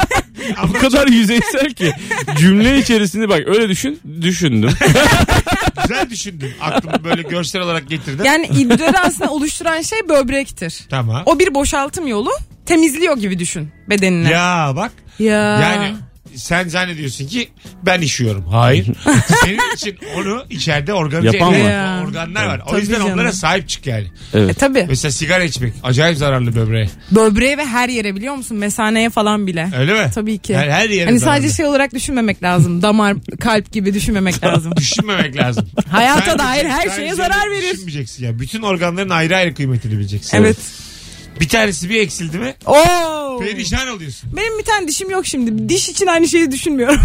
Bu kadar yüzeysel ki cümle içerisinde bak öyle düşün düşündüm.
Güzel düşündüm. Aklımı böyle görsel olarak getirdim.
yani idrarı aslında oluşturan şey böbrektir.
tamam.
O bir boşaltım yolu temizliyor gibi düşün bedenini.
Ya bak.
Ya.
Yani sen zannediyorsun ki ben işiyorum.
[LAUGHS]
Hayır. Senin için onu içeride organize
Yapan
eden
var.
organlar var. O
Tabii
yüzden
canım.
onlara sahip çık yani.
E, tabii.
Mesela sigara içmek acayip zararlı böbreğe.
Böbreğe ve her yere biliyor musun? Mesaneye falan bile.
Öyle mi?
Tabii ki.
Yani her yere
hani
zararlı.
sadece şey olarak düşünmemek lazım. Damar, kalp
[LAUGHS]
gibi düşünmemek lazım.
Düşünmemek lazım.
[LAUGHS] Hayata
Sadece-
dair her
sadece
şeye zarar verir.
Düşünmeyeceksin ya. Bütün organların ayrı ayrı kıymetini bileceksin.
evet.
Bir tanesi bir eksildi mi
Oo.
perişan oluyorsun.
Benim bir tane dişim yok şimdi. Diş için aynı şeyi
[LAUGHS]
düşünmüyorum.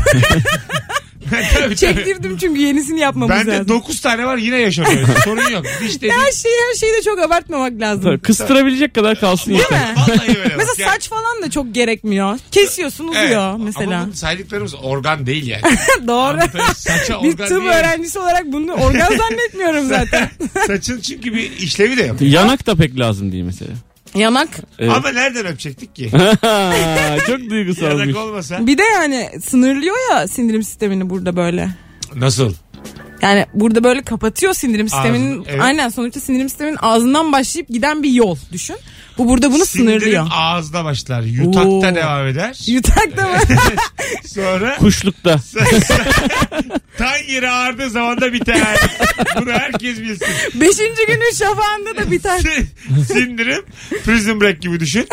Tabii, [LAUGHS] tabii.
Çektirdim çünkü yenisini yapmamız
Bende
lazım.
9 tane var yine
[LAUGHS]
yaşamıyorum. Sorun yok. Diş dediğin
her şeyi her şeyi de çok abartmamak lazım.
Tabii, Kıstırabilecek kadar kalsın
Değil
yeter.
mi?
Vallahi öyle. bak.
Mesela
Yani-
saç falan da çok gerekmiyor. Kesiyorsun uzuyor
Evet.
mesela.
Ama bunun saydıklarımız organ değil
[LAUGHS]
yani.
Doğru.
Anlatayım, Saça
Bir
organ
tıp
değil.
öğrencisi olarak
[LAUGHS]
bunu organ zannetmiyorum zaten.
Saçın çünkü bir işlevi de yok.
Yanak da pek lazım değil
[LAUGHS]
mesela.
Yanak.
Evet.
Ama nereden öpecektik ki?
Çok duygusalmış.
Yanak olmasa.
Bir de yani sınırlıyor ya sindirim sistemini burada böyle.
Nasıl?
Yani burada böyle kapatıyor sindirim sisteminin.
Ağzını, evet.
Aynen sonuçta sindirim sisteminin ağzından başlayıp giden bir yol düşün. Bu burada bunu sınırlıyor.
Sindirim ağızda başlar. Yutakta
Oo.
devam eder. [LAUGHS]
Yutak da mı?
Sonra
[LAUGHS]
Kuşlukta.
tan yeri ağrıdığı zaman da
[LAUGHS]
biter. Bunu herkes bilsin.
Beşinci günün şafağında da biter.
Sin- Sindirim prison break gibi
[LAUGHS]
düşün.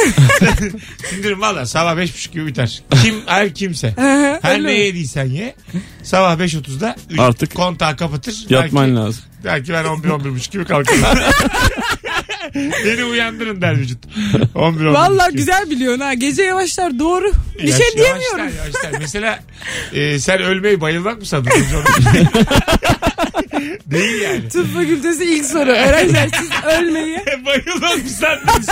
Sindirim valla sabah beş buçuk gibi biter. Kim her kimse. her ne yediysen ye. Sabah 5.30'da üç-
Artık
kontağı kapatır.
Yatman
belki,
lazım.
Belki ben 11-11.30 gibi
[LAUGHS]
kalkarım. Beni uyandırın der vücut. 11
Valla güzel biliyorsun ha. Gece yavaşlar doğru. Bir şey diyemiyorum.
Yavaşlar, yavaşlar. Mesela e, sen ölmeyi bayılmak mı sandın?
[LAUGHS]
Değil yani. [LAUGHS]
Tıp fakültesi ilk soru. Öğrenciler siz ölmeyi.
Bayılmak mı sandınız?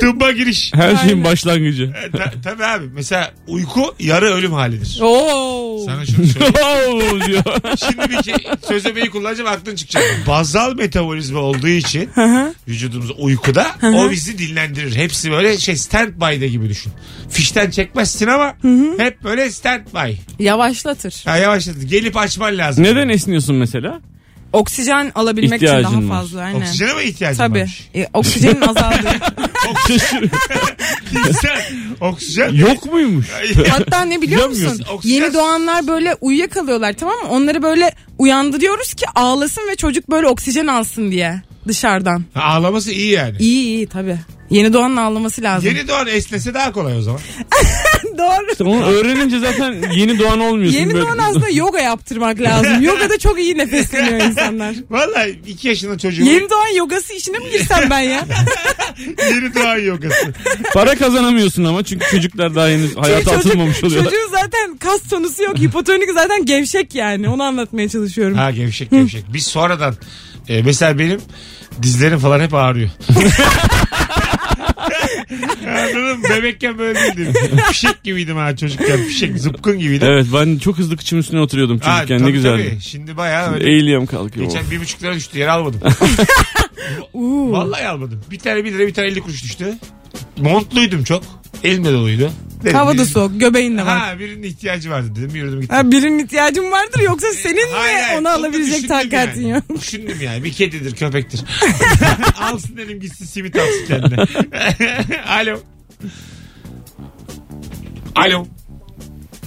Tıbba giriş.
Her şeyin başlangıcı. [LAUGHS]
E, ta- tabii abi. Mesela uyku yarı ölüm halidir.
Oo.
Sana şunu söyleyeyim.
Oo diyor.
Şimdi bir şey, sözlemeyi kullanacağım aklın çıkacak. Bazal metabolizma olduğu için vücudumuz uykuda o bizi dinlendirir. Hepsi böyle şey standby'da gibi düşün. Fişten çekmezsin ama hep böyle standby.
Yavaşlatır.
Ya yavaşladı. Gelip açman lazım.
Neden esniyorsun mesela? [LAUGHS]
Oksijen alabilmek için
İhtiyacın
daha
var.
fazla. Aynen.
Oksijene mi ihtiyacın
Tabii.
varmış? [LAUGHS]
E,
[LAUGHS]
oksijenin azaldığı.
Sen oksijen
Yok muymuş?
Hatta ne biliyor musun?
Bilemiyorsun.
Oksijen-
Yeni doğanlar böyle uyuyakalıyorlar tamam mı? Onları böyle uyandırıyoruz ki ağlasın ve çocuk böyle oksijen alsın diye dışarıdan.
Ha, [LAUGHS] Ağlaması iyi yani.
İyi iyi tabii. Yeni doğanın ağlaması lazım.
Yeni doğan esnese daha kolay o zaman.
[LAUGHS] Doğru.
Onu öğrenince zaten yeni doğan olmuyorsun.
Yeni
Böyle-
doğan aslında yoga yaptırmak lazım. Yoga'da çok iyi nefesleniyor insanlar.
Vallahi 2 yaşında çocuğun yeni, [LAUGHS]
Yeni doğan yogası işine mi girsem ben ya?
doğan yogası.
[LAUGHS] Para kazanamıyorsun ama çünkü çocuklar daha henüz hayata
Çocuk-
atılmamış oluyorlar.
Çocuğun zaten kas tonusu yok. Hipotonik zaten gevşek yani. Onu anlatmaya çalışıyorum.
Ha gevşek gevşek. Biz sonradan e, mesela benim dizlerim falan hep ağrıyor. [LAUGHS] Anladın mı? Bebekken böyle değildim. Fişek gibiydim ha çocukken. Fişek zıpkın gibiydim.
Evet ben çok hızlı kıçım üstüne oturuyordum
Ha,
çocukken ne
tabii,
güzeldi.
tabii. Şimdi bayağı öyle.
Eğiliyorum kalkıyor.
Geçen bir buçuk lira düştü. Yere
[LAUGHS]
almadım. Vallahi almadım. Bir tane bir lira bir tane elli kuruş düştü. Montluydum çok. Elimde doluydu. Dedim,
Hava da
birinin-
soğuk. Göbeğin de var.
Ha birinin ihtiyacı vardı dedim. Yürüdüm gittim.
Ha, birinin ihtiyacın vardır yoksa senin mi
Hayır, hayır.
onu
da
alabilecek
düşündüm
takatin
yani. [LAUGHS]
yok.
Düşündüm yani. Bir kedidir, köpektir.
[LAUGHS]
[LAUGHS] alsın dedim gitsin simit alsın kendine. [LAUGHS] Alo. Alo.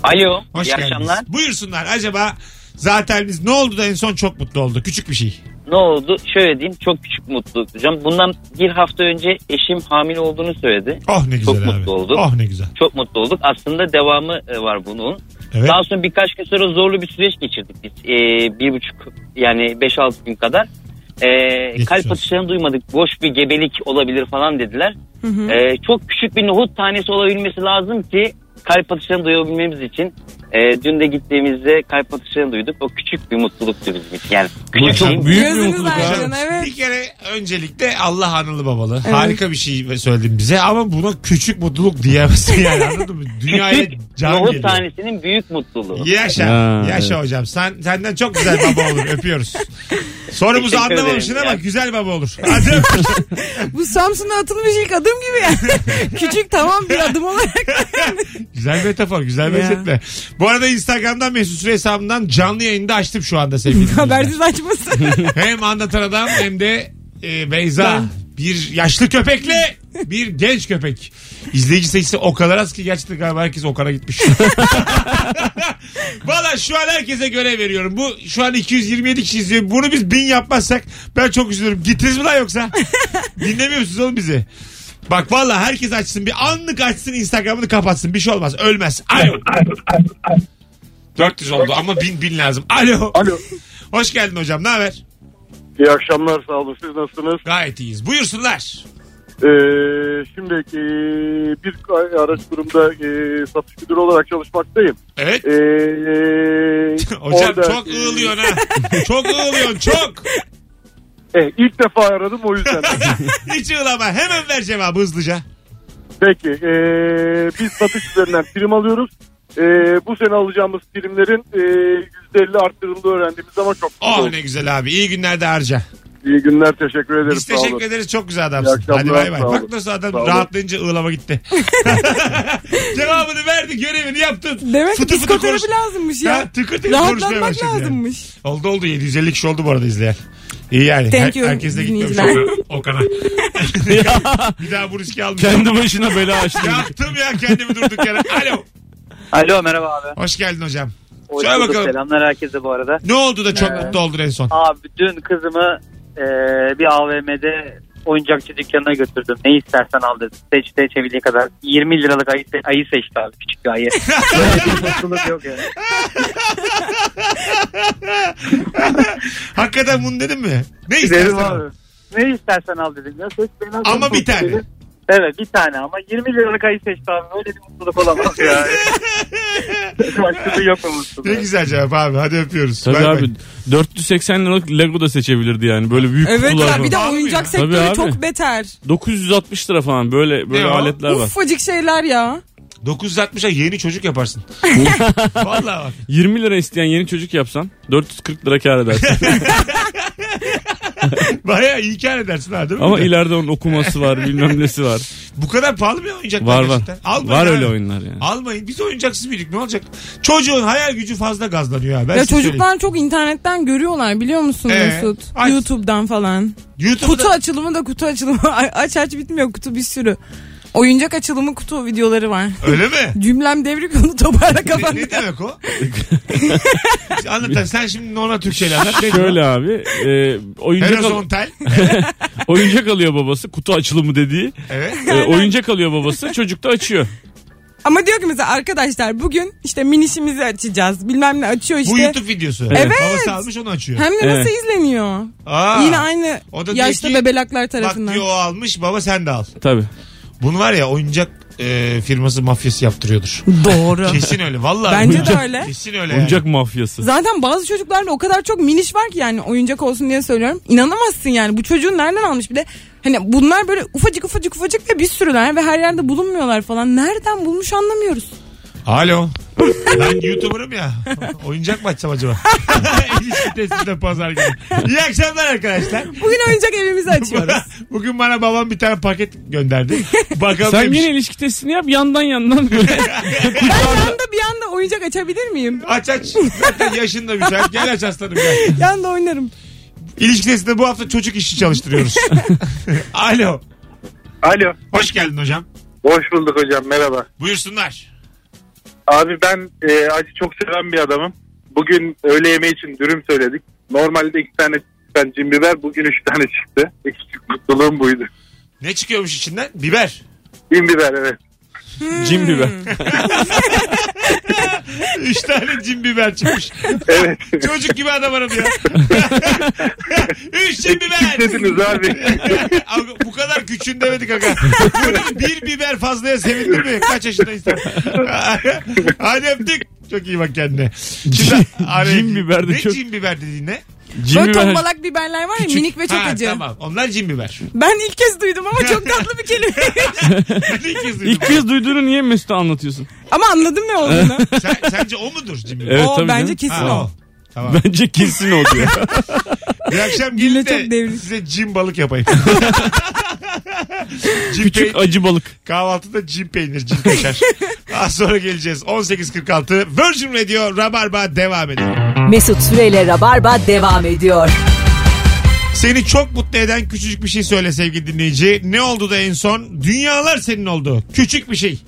Alo.
Hoş
iyi
geldiniz.
akşamlar.
Buyursunlar. Acaba zaten biz ne oldu da en son çok mutlu oldu? Küçük bir şey.
Ne oldu? Şöyle diyeyim çok küçük mutluluk diyeceğim. Bundan bir hafta önce eşim hamile olduğunu söyledi.
Oh ne güzel
Çok
abi.
mutlu oldum.
Oh ne güzel.
Çok mutlu olduk. Aslında devamı e, var bunun.
Evet.
Daha sonra birkaç gün sonra zorlu bir süreç geçirdik biz. Ee, bir buçuk yani beş altı gün kadar. Ee, kalp
olsun.
atışlarını duymadık. Boş bir gebelik olabilir falan dediler. Ee, çok küçük bir nohut tanesi olabilmesi lazım ki kalp atışlarını duyabilmemiz için. Ee, dün de gittiğimizde kalp atışlarını duyduk. O küçük bir mutluluktu bizim için. Yani
Ulan
küçük
çok
değil,
büyük bir
Gözünüz
mutluluk.
aydın.
ha.
Güzel.
evet.
Bir kere öncelikle Allah anılı babalı. Harika bir şey söyledin bize ama buna küçük mutluluk diyemezsin yani anladın mı? Dünyaya can
nohut
geliyor.
tanesinin büyük mutluluğu.
Yaşa.
Ha,
yaşa
evet.
hocam. Sen senden çok güzel baba olur. Öpüyoruz. Sorumuzu
Teşekkür
anlamamışsın
ederim
ama
ya.
güzel baba olur. Hadi öpüyoruz.
Bu Samsun'a atılmış ilk adım gibi yani. Küçük tamam bir
[LAUGHS]
adım olarak.
[LAUGHS] güzel metafor, güzel
Ya.
benzetme. Bu arada Instagram'dan Mesut Süre hesabından canlı yayında açtım şu anda
[LAUGHS]
sevgili dinleyiciler.
Habersiz açmasın.
[LAUGHS] Hem anlatan adam hem de e, Beyza. Bir yaşlı köpekle bir genç köpek. İzleyici sayısı o kadar az ki gerçekten galiba herkes Okan'a gitmiş. [LAUGHS] Valla şu an herkese görev veriyorum. Bu şu an 227 kişi izliyor. Bunu biz bin yapmazsak ben çok üzülürüm. Gittiniz mi lan yoksa? Dinlemiyor musunuz oğlum bizi? Bak valla herkes açsın. Bir anlık açsın Instagram'ını kapatsın. Bir şey olmaz. Ölmez. Alo. 400 oldu ama bin bin lazım. Alo.
Alo.
Hoş geldin hocam. Ne haber?
İyi akşamlar sağ olun siz nasılsınız?
Gayet iyiyiz. Buyursunlar.
Ee, şimdi e, bir araç kurumda e, satış müdürü olarak çalışmaktayım.
Evet.
Ee,
[LAUGHS]
e,
Ee,
Hocam
orada-
çok ığılıyorsun ha. çok ığılıyorsun çok.
[LAUGHS] Eh, ilk defa aradım
[LAUGHS]
o yüzden.
Hiç ığlama. Hemen ver cevabı hızlıca.
Peki e, biz satış üzerinden prim alıyoruz. E, bu sene alacağımız primlerin e, %50 arttırıldığı öğrendiğimiz zaman çok mutlu
Oh
olduk.
ne güzel abi. İyi günlerde harca.
İyi günler teşekkür ederim.
Biz
sağ olun.
teşekkür ederiz. Çok güzel adamsın.
İyi
Hadi
akşamlar,
bay bay.
sağ olun.
Bak nasıl adam
Sağ olun.
rahatlayınca ığlama gitti. [LAUGHS] Cevabını verdi. Görevini yaptın.
Demek ki
Fıtı fıtı konuş-
psikoterapi lazımmış
Ha,
ya.
tıkır tıkır konuşmaya
Rahatlanmak
başladı yani.
lazımmış.
Oldu oldu 750 kişi oldu bu arada izleyen. İyi yani.
Thank you,
herkes de gitmemiş
dinleyiciler.
Okan-
[LAUGHS]
Okan'a. [LAUGHS] bir daha bu riski almayacağım.
Kendi başına bela açtı.
Yaptım ya kendimi durduk yere. Alo.
Alo merhaba abi.
Hoş geldin hocam.
Hoş
Söyle
bulduk,
bakalım.
Selamlar herkese bu arada.
Ne oldu da çok mutlu oldun en son?
Abi dün kızımı e, bir AVM'de oyuncakçı dükkanına götürdüm. Ne istersen al dedim. Seçti çevirdiği kadar. 20 liralık ayı, se- ayı seçti abi. Küçük bir
[LAUGHS]
ayı. [LAUGHS] Mutluluk yok yani.
Hakikaten bunu dedim mi? Ne istersen.
Dedim
al.
abi. Ne istersen al dedim. Ya, seç beni al.
Ama bir tane.
Evet bir tane ama 20 liralık ayı seçti abi. Öyle bir mutluluk
[LAUGHS]
olamaz ya. Başka bir yok mu mutluluk?
Ne güzel cevap abi. Hadi öpüyoruz.
Tabii
Bay bay.
abi 480 liralık Lego da seçebilirdi yani böyle büyük
Evet
kutular
ya bir de
falan.
oyuncak
Tabii
sektörü
abi.
çok beter.
960 lira falan böyle böyle
Ne o?
aletler var.
Ufacık şeyler ya.
960'a yeni çocuk
[LAUGHS]
yaparsın. Vallahi bak.
20 lira isteyen yeni çocuk yapsan 440 lira kar
[LAUGHS]
edersin.
Bayağı iyi kar edersin ha değil mi?
Ama
Bir de?
ileride onun okuması var bilmem nesi var.
Bu kadar pahalı mı ya oyuncaklar
Var var.
gerçekten? Almayın
var
abi.
öyle oyunlar yani.
Almayın. Biz oyuncaksız büyüdük ne olacak? Çocuğun hayal gücü fazla gazlanıyor ha. Ben
ya
size
çocuklar
söyleyeyim.
çok internetten görüyorlar biliyor musun
Ee,
Mesut?
aç.
YouTube'dan falan.
YouTube'da
Kutu açılımı da kutu açılımı. [LAUGHS] Ay, aç aç bitmiyor kutu bir sürü. Oyuncak açılımı kutu videoları var.
öyle mi?
Cümlem devrik onu toparla
[LAUGHS] Ne,
kapandı.
ne demek
[LAUGHS]
o? Anlatan sen şimdi normal Türkçeyle anlat. Ne diyor?
Şöyle abi e, oyuncak,
[LAUGHS]
al-
Horizontal.
oyuncak alıyor babası kutu açılımı dediği.
Evet.
E, oyuncak alıyor babası çocuk da açıyor.
Ama diyor ki mesela arkadaşlar bugün işte minişimizi açacağız. Bilmem ne açıyor işte.
Bu YouTube videosu.
Evet.
Babası almış onu açıyor.
Hem de nasıl
Evet.
izleniyor?
Aa,
Yine aynı
O da diyor
yaşlı
ki,
bebelaklar tarafından.
Bak diyor o almış baba sen de al.
Tabii.
Bunu var ya oyuncak e, firması mafyası yaptırıyordur.
Doğru.
Kesin öyle vallahi.
Bence de öyle.
Kesin öyle
Oyuncak
yani.
mafyası.
Zaten bazı çocuklarda o kadar çok miniş var ki yani oyuncak olsun diye söylüyorum. İnanamazsın yani bu çocuğun nereden almış bir de hani bunlar böyle ufacık ufacık ufacık ve bir sürüler ve her yerde bulunmuyorlar falan. Nereden bulmuş anlamıyoruz.
Alo. Ben YouTuber'ım ya. Oyuncak mı açsam acaba? [LAUGHS] İlişki testinde pazar günü. İyi akşamlar arkadaşlar.
Bugün
[LAUGHS]
oyuncak evimizi açıyoruz.
Bugün bana babam bir tane paket gönderdi. Bakalım
Sen
demiş.
yine ilişki testini yap yandan yandan [LAUGHS] böyle.
ben yanda bir yanda oyuncak açabilir miyim?
Aç aç. Zaten yaşın da müsait. Gel aç aslanım gel.
Yanda oynarım.
İlişki testinde bu hafta çocuk işçi
[LAUGHS]
çalıştırıyoruz. Alo.
Alo.
Hoş geldin hocam.
Hoş bulduk hocam merhaba.
Buyursunlar.
Abi ben e, acı çok seven bir adamım. Bugün öğle yemeği için dürüm söyledik. Normalde iki tane ben cin biber bugün üç tane çıktı. En küçük mutluluğum buydu.
Ne çıkıyormuş içinden?
[LAUGHS]
Biber.
Cin biber evet.
Cin biber.
Üç tane cin biber çıkmış.
Evet.
Çocuk gibi adam aradı
[LAUGHS]
ya. Üç cin biber.
Dediniz abi.
[LAUGHS] Abi bu kadar küçüğünü demedik aga. Böyle bir biber fazlaya sevindir mi? Kaç yaşındayız
[LAUGHS]
sen? Hadi öptük. Çok iyi bak kendine. Şimdi araya-
cin biber de
ne
çok-
cin biber dediğin ne?
Cin
Böyle
biber.
tombalak biberler var ya minik ve çok
Ha,
acı.
Tamam onlar cin
[LAUGHS]
biber.
Ben ilk kez duydum ama çok tatlı bir
[LAUGHS]
kelime.
Ben ilk kez duydum.
İlk kez duyduğunu niye Mesut'a anlatıyorsun?
ama anladım ne olduğunu.
Sen, sence o mudur cin biber?
Evet,
o
tabii
bence
canım.
kesin
Ha,
o.
Tamam.
[LAUGHS] Bence kesin o diyor.
Bir akşam gelin
Cümle çok
de
devrik.
size cin balık
[LAUGHS]
yapayım. cin peyn-
Küçük acı balık.
Kahvaltıda cin peynir, cin kaşar. Az sonra geleceğiz. 18.46 Virgin Radio Rabarba devam ediyor.
Mesut Süreyle Rabarba devam ediyor.
Seni çok mutlu eden küçücük bir şey söyle sevgili dinleyici. Ne oldu da en son? Dünyalar senin oldu. Küçük bir şey.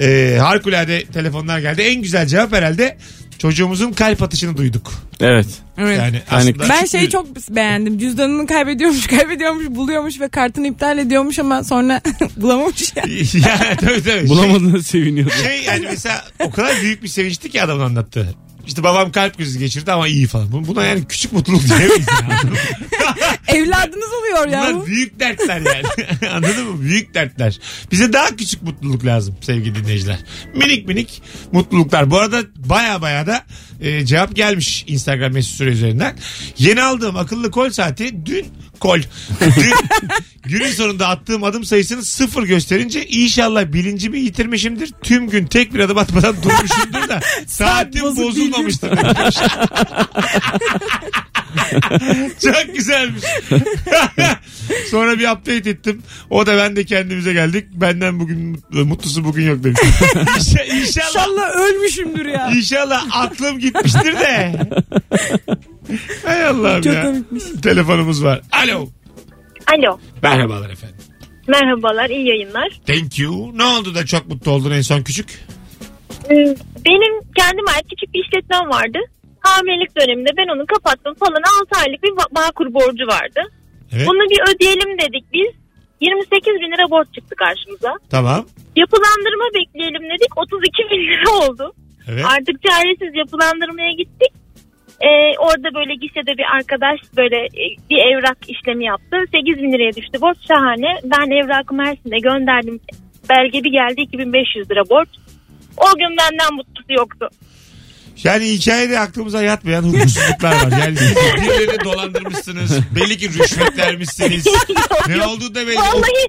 Ee, harikulade telefonlar geldi. En güzel cevap herhalde çocuğumuzun kalp atışını duyduk.
Evet.
Evet.
Yani aslında
Ben şeyi çok beğendim. Cüzdanını kaybediyormuş, [LAUGHS] kaybediyormuş, buluyormuş ve kartını iptal ediyormuş ama sonra [LAUGHS] bulamamış ya.
[LAUGHS] ya, tabii, tabii.
Bulamadığına [LAUGHS] seviniyordu.
Şey, şey yani mesela o kadar büyük bir sevinçti ki adamın anlattı. İşte babam kalp krizi geçirdi ama iyi falan. Bu- Buna yani küçük mutluluk diyemeyiz. ya.
Evladınız oluyor ya.
Bunlar büyük dertler yani. [LAUGHS] Anladın mı? Büyük dertler. Bize daha küçük mutluluk lazım sevgili dinleyiciler. Minik minik mutluluklar. Bu arada baya baya da e, cevap gelmiş Instagram mesut süre üzerinden. Yeni aldığım akıllı kol saati dün kol. [LAUGHS] Dün günün sonunda attığım adım sayısını sıfır gösterince inşallah bilincimi yitirmişimdir. Tüm gün tek bir adım atmadan durmuşumdur da saatim [LAUGHS]
bozuk
bozulmamıştır. Çok güzelmiş. [LAUGHS] Sonra bir update ettim. O da ben de kendimize geldik. Benden bugün mutlusu bugün yok demiş. İnşa- İnşallah
İnşallah
[LAUGHS]
ölmüşümdür ya.
İnşallah aklım gitmiştir de. Hay Allah'ım
Çok
ya.
komikmiş.
Telefonumuz var. Alo.
Alo.
Merhabalar efendim.
Merhabalar, iyi yayınlar.
Thank you. Ne oldu da çok mutlu oldun en son küçük?
Ee, Benim kendime ait küçük bir işletmem vardı. Hamilelik döneminde ben onu kapattım falan. 6 aylık bir ba- Bağkur borcu vardı.
Evet.
Bunu bir ödeyelim dedik biz. 28 bin lira borç çıktı karşımıza.
Tamam.
Yapılandırma bekleyelim dedik. 32 bin lira oldu.
Evet.
Artık çaresiz yapılandırmaya gittik. Ee, orada böyle gişede bir arkadaş böyle e, bir evrak işlemi yaptı. 8 bin liraya düştü borç şahane. Ben evrakı Mersin'e gönderdim. Belge bir geldi 2500 lira borç. O gün benden mutlusu yoktu.
Yani hikayede aklımıza yatmayan hukuksuzluklar var. Yani siz birilerini dolandırmışsınız. Belli ki rüşvet
[LAUGHS]
vermişsiniz. ne olduğu da belli.
Vallahi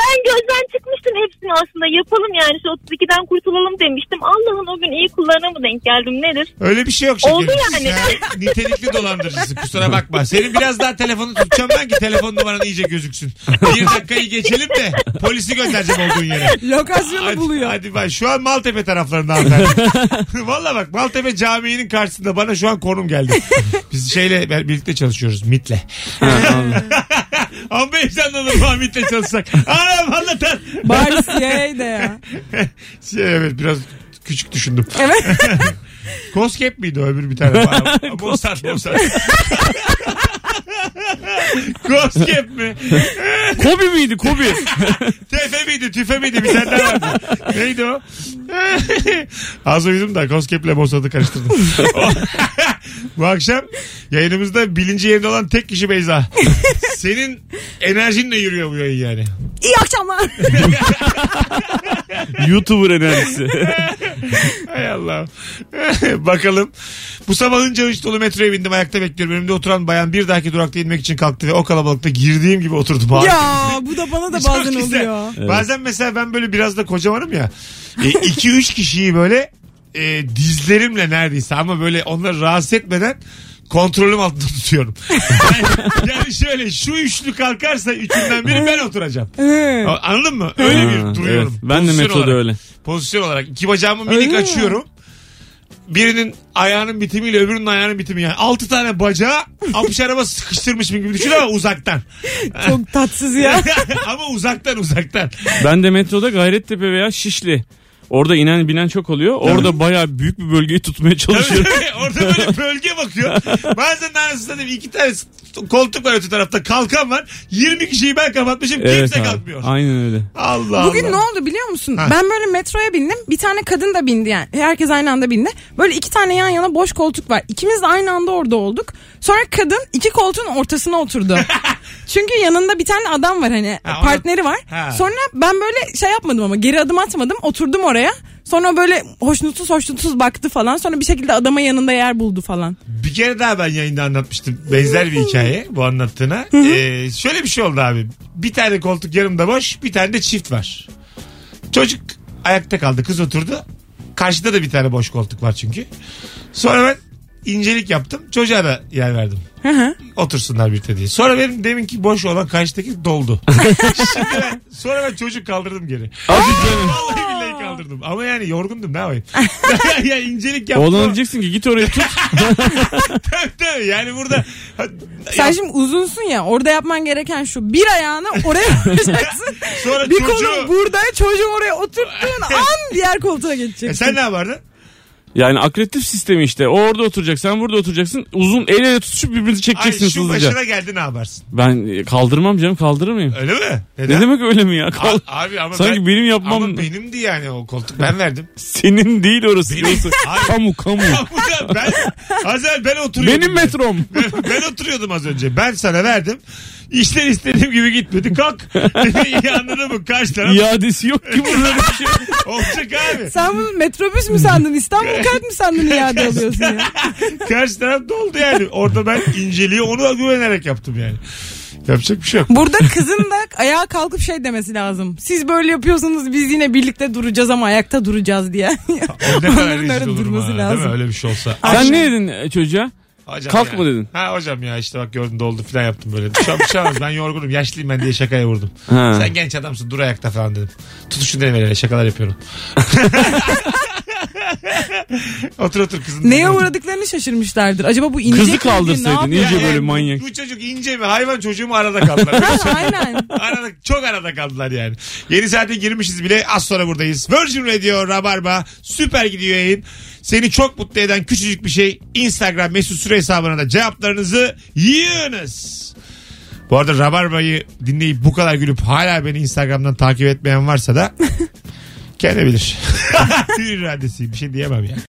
ben gözden çıkmıştım hepsini aslında yapalım yani şu 32'den kurtulalım demiştim. Allah'ın o gün iyi kullarına mı denk geldim nedir?
Öyle bir şey yok şekerim.
Oldu yani.
Sen nitelikli dolandırıcısın kusura bakma. Senin biraz daha telefonu tutacağım ben ki telefon numaran iyice gözüksün. Bir dakikayı geçelim de polisi göndereceğim
[LAUGHS]
olduğun yere.
Lokasyonu
Hadi,
buluyor.
hadi bak şu an Maltepe taraflarında hanımefendi. [LAUGHS] Valla bak Maltepe Camii'nin karşısında bana şu an konum geldi. Biz şeyle ben- birlikte çalışıyoruz MIT'le. [LAUGHS] Ama heyecanlanır falan MIT'le çalışsak. Anam anlatan.
Bari CIA de ya.
[LAUGHS] Şey, Evet biraz küçük düşündüm. [LAUGHS]
Evet.
Koskep miydi o öbür bir tane? Mostar Mostar. [LAUGHS] Koskep mi?
Kobi miydi Kobi?
Tefe miydi? Tüfe miydi? Bir tane daha vardı. Neydi o? [LAUGHS] Az uyudum da Koskep'le Mostar'ı karıştırdım. [LAUGHS] Bu akşam yayınımızda bilinci yerinde olan tek kişi Beyza. Senin enerjinle yürüyor bu yayın yani.
İyi akşamlar.
[LAUGHS] YouTuber enerjisi.
Hay Allah. [LAUGHS] Bakalım. Bu sabahın canış dolu metroya bindim ayakta bekliyorum. Önümde oturan bayan bir dahaki durakta inmek için kalktı ve o kalabalıkta girdiğim gibi oturdum.
ya bu da bana
[LAUGHS]
da
Çok
bazen
güzel.
oluyor.
Bazen mesela ben böyle biraz da kocamanım ya. 2-3 kişiyi böyle e, dizlerimle neredeyse ama böyle onları rahatsız etmeden kontrolüm altında [LAUGHS] tutuyorum. Yani, yani şöyle şu üçlü kalkarsa üçünden biri ben oturacağım.
Hı.
A- Anladın mı? [LAUGHS] Öyle
Ha,
bir duruyorum.
evet. Ben de
Pozisyon
metroda
olarak.
öyle.
Pozisyon olarak. iki bacağımı minik
Öyle mi?
açıyorum. Birinin ayağının bitimiyle öbürünün ayağının bitimi yani. Altı tane bacağı apış araba sıkıştırmışım gibi düşün ama uzaktan.
Çok
[LAUGHS]
tatsız ya.
ama uzaktan uzaktan.
Ben de metroda Gayrettepe veya Şişli. Orada inen binen çok oluyor. Orada bayağı büyük bir bölgeyi tutmaya
Tabii,
çalışıyorum.
tabii. Orada böyle bölge bakıyor. Bazen arasında değil mi? iki tane koltuk var öte tarafta. Kalkan var. 20 kişiyi ben kapatmışım.
[LAUGHS] Evet
kimse
abi.
kalkmıyor.
Aynen öyle.
Allah
Bugün ne
Allah.
oldu biliyor musun?
Ha.
Ben böyle metroya bindim. Bir tane kadın da bindi yani. Herkes aynı anda bindi. Böyle iki tane yan yana boş koltuk var. İkimiz de aynı anda orada olduk. Sonra kadın iki koltuğun ortasına
[LAUGHS]
oturdu. Çünkü yanında bir tane adam var hani
Ha, ona-
partneri var.
Ha.
Sonra ben böyle şey yapmadım ama geri adım atmadım. Oturdum oraya. Sonra böyle hoşnutsuz hoşnutsuz baktı falan. Sonra bir şekilde adama yanında yer buldu falan.
Bir kere daha ben yayında anlatmıştım. Benzer bir hikaye bu anlattığına. Ee, şöyle bir şey oldu abi. Bir tane koltuk yarımda boş. Bir tane de çift var. Çocuk ayakta kaldı. Kız oturdu. Karşıda da bir tane boş koltuk var çünkü. Sonra ben incelik yaptım. Çocuğa da yer verdim. Otursunlar birlikte diye. Sonra benim deminki boş olan karşıdaki doldu. Şimdi ben, sonra ben çocuk kaldırdım geri. Vallahi billahi kaldırdım. Ama yani yorgundum ne yapayım. [LAUGHS] ya incelik yaptım.
Oğlan
ama-
diyeceksin ki git oraya tut.
[LAUGHS] Tabii, tabii. yani burada
Sen şimdi uzunsun ya orada yapman gereken şu bir ayağını
[LAUGHS]
oraya koyacaksın.
Sonra
bir
çocuğu-
kolun burada çocuğu
[LAUGHS]
oraya oturttuğun an diğer koltuğa
E
geçeceksin.
sen ne
[LAUGHS]
yapardın?
Yani akretif sistemi işte. O orada oturacak, sen burada oturacaksın. Uzun el ele tutuşup birbirinizi
Ay
çekeceksiniz
şu
hızlıca.
başına geldi ne yaparsın?
Ben e, kaldırmam canım, kaldırır mıyım?
Öyle mi? Neden?
Ne demek öyle mi ya?
A- [LAUGHS]
Kal-
abi ama
Sanki
ben-
benim yapmam
Ama benimdi yani o koltuk ben
[LAUGHS]
verdim.
senin değil orası.
Benim-
orası.
Hayır.
kamu kamu.
Bu da ben az evvel ben oturuyordum.
benim metrom.
[LAUGHS] ben oturuyordum az önce. Ben sana verdim. İşler istediğim gibi gitmedi. Kalk.
[LAUGHS]
İyi Anladın mı? Kaç taraf?
[LAUGHS] İadesi yok ki bunun öyle bir şey.
[LAUGHS] Olacak abi.
Sen bunu metrobüs mü
[LAUGHS]
sandın İstanbul kart mı sandın iade alıyorsun ya.
Karşı taraf doldu yani. Orada ben inceliği ona güvenerek yaptım yani. Yapacak bir şey
[LAUGHS]
yok.
Burada kızın da ayağa kalkıp şey demesi lazım. Siz böyle yapıyorsunuz biz yine birlikte duracağız ama ayakta duracağız diye. [LAUGHS]
O ne kadar
Onların
rezil
öyle
olurum
durması
ha, Değil
lazım.
mi? Öyle bir şey olsa.
Sen ne dedin e, çocuğa?
Hocam
Kalk
ya.
mı dedin?
Ha hocam ya işte bak gördün doldu falan yaptım böyle. Şu an bir şey olmaz. ben yorgunum yaşlıyım ben diye şakaya vurdum.
Ha.
Sen genç adamsın dur ayakta falan dedim. Tutuşun dedim öyle şakalar
[LAUGHS]
yapıyorum. otur otur kızın.
Neye uğradıklarını şaşırmışlardır. Acaba bu inecek
Kızı
mi? Ne
kaldırsaydın
yapıyor? [LAUGHS]
Ya,
iyice
ya,
böyle manyak.
Bu çocuk ince mi hayvan çocuğu mu arada
[LAUGHS]
kaldılar.
Aynen.
arada, çok arada kaldılar yani. Yeni saate girmişiz bile az sonra buradayız. Virgin Radio Rabarba süper gidiyor yayın. Seni çok mutlu eden küçücük bir şey Instagram mesut süre hesabına da cevaplarınızı yığınız. Bu arada Rabarba'yı dinleyip bu kadar gülüp hala beni Instagram'dan [LAUGHS] takip etmeyen varsa da kendi bilir. Hür iradesi bir şey diyemem ya.